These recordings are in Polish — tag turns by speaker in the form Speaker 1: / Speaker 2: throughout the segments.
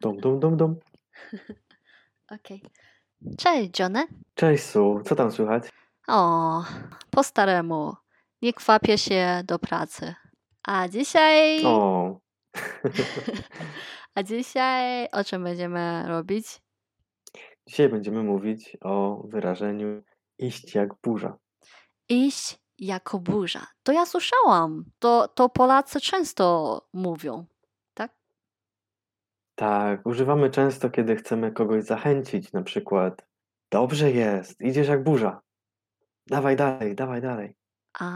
Speaker 1: dum dum dum.
Speaker 2: Okej. Cześć, Johnny.
Speaker 1: Cześć Su, co tam słychać?
Speaker 2: O, po staremu. Nie kwapię się do pracy. A dzisiaj...
Speaker 1: O,
Speaker 2: A dzisiaj o czym będziemy robić?
Speaker 1: dzisiaj będziemy mówić o wyrażeniu iść jak burza.
Speaker 2: Iść jako burza. To ja słyszałam. To, to Polacy często mówią.
Speaker 1: Tak, używamy często, kiedy chcemy kogoś zachęcić, na przykład dobrze jest, idziesz jak burza. Dawaj dalej, dawaj dalej.
Speaker 2: A,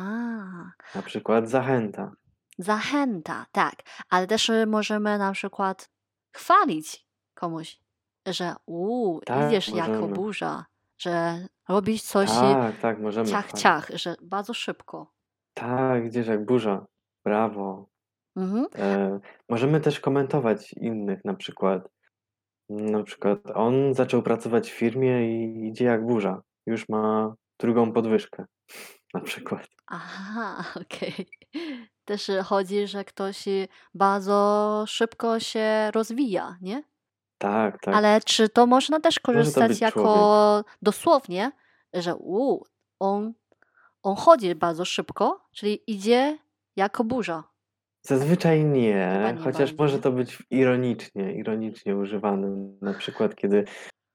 Speaker 1: Na przykład zachęta.
Speaker 2: zachęta, tak. Ale też y, możemy na przykład chwalić komuś, że u,
Speaker 1: Tak,
Speaker 2: idziesz jako
Speaker 1: możemy.
Speaker 2: burza, że robisz coś y,
Speaker 1: Tak, tak, możemy.
Speaker 2: ciach,
Speaker 1: chwalić.
Speaker 2: ciach, że bardzo szybko.
Speaker 1: Tak, idziesz jak burza. Brawo.
Speaker 2: Mhm.
Speaker 1: E, możemy też komentować innych, na przykład. Na przykład on zaczął pracować w firmie i idzie jak burza. Już ma drugą podwyżkę. Na przykład.
Speaker 2: Aha, okej. Też y, chodzi, że ktoś y, bardzo szybko się rozwija, nie?
Speaker 1: Tak, tak.
Speaker 2: Ale czy to można też
Speaker 1: Może to
Speaker 2: korzystać
Speaker 1: być
Speaker 2: jako dosłownie, że u, on, on chodzi bardzo szybko, czyli idzie jako burza.
Speaker 1: Zazwyczaj
Speaker 2: Chyba
Speaker 1: nie,
Speaker 2: nie
Speaker 1: chociaż
Speaker 2: bardzo,
Speaker 1: może
Speaker 2: nie?
Speaker 1: to być w- ironicznie, ironicznie używane. Na przykład, kiedy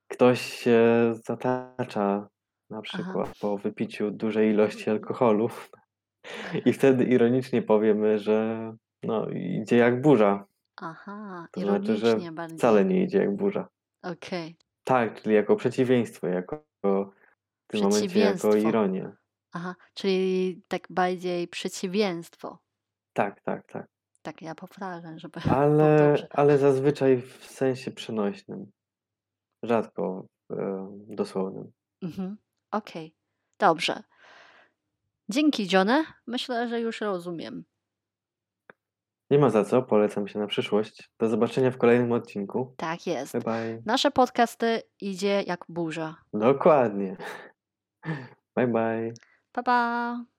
Speaker 1: ktoś się zatacza, na przykład po wypiciu dużej ilości alkoholu, i wtedy ironicznie powiemy, że no, idzie jak burza.
Speaker 2: Aha,
Speaker 1: To znaczy,
Speaker 2: ironicznie
Speaker 1: że
Speaker 2: bardziej.
Speaker 1: Wcale nie idzie jak burza.
Speaker 2: Okej,
Speaker 1: Tak, czyli jako przeciwieństwo, jako w tym momencie jako
Speaker 2: Przeciwieństwo.
Speaker 1: ironię.
Speaker 2: aha, czyli tak bardziej przeciwieństwo.
Speaker 1: Tak, tak, tak.
Speaker 2: Tak ja powtarzam, żeby było
Speaker 1: Ale,
Speaker 2: No dobrze.
Speaker 1: ale zazwyczaj w sensie przenośnym. Rzadko e, dosłownym.
Speaker 2: Mhm. Okej, dobrze. Dzięki, Johnny. Myślę, że już rozumiem.
Speaker 1: Nie ma za co, polecam się na przyszłość. Do zobaczenia w kolejnym odcinku.
Speaker 2: Tak jest.
Speaker 1: Bye bye.
Speaker 2: Nasze podcasty idzie jak burza.
Speaker 1: Dokładnie. Bye bye.
Speaker 2: Pa, pa!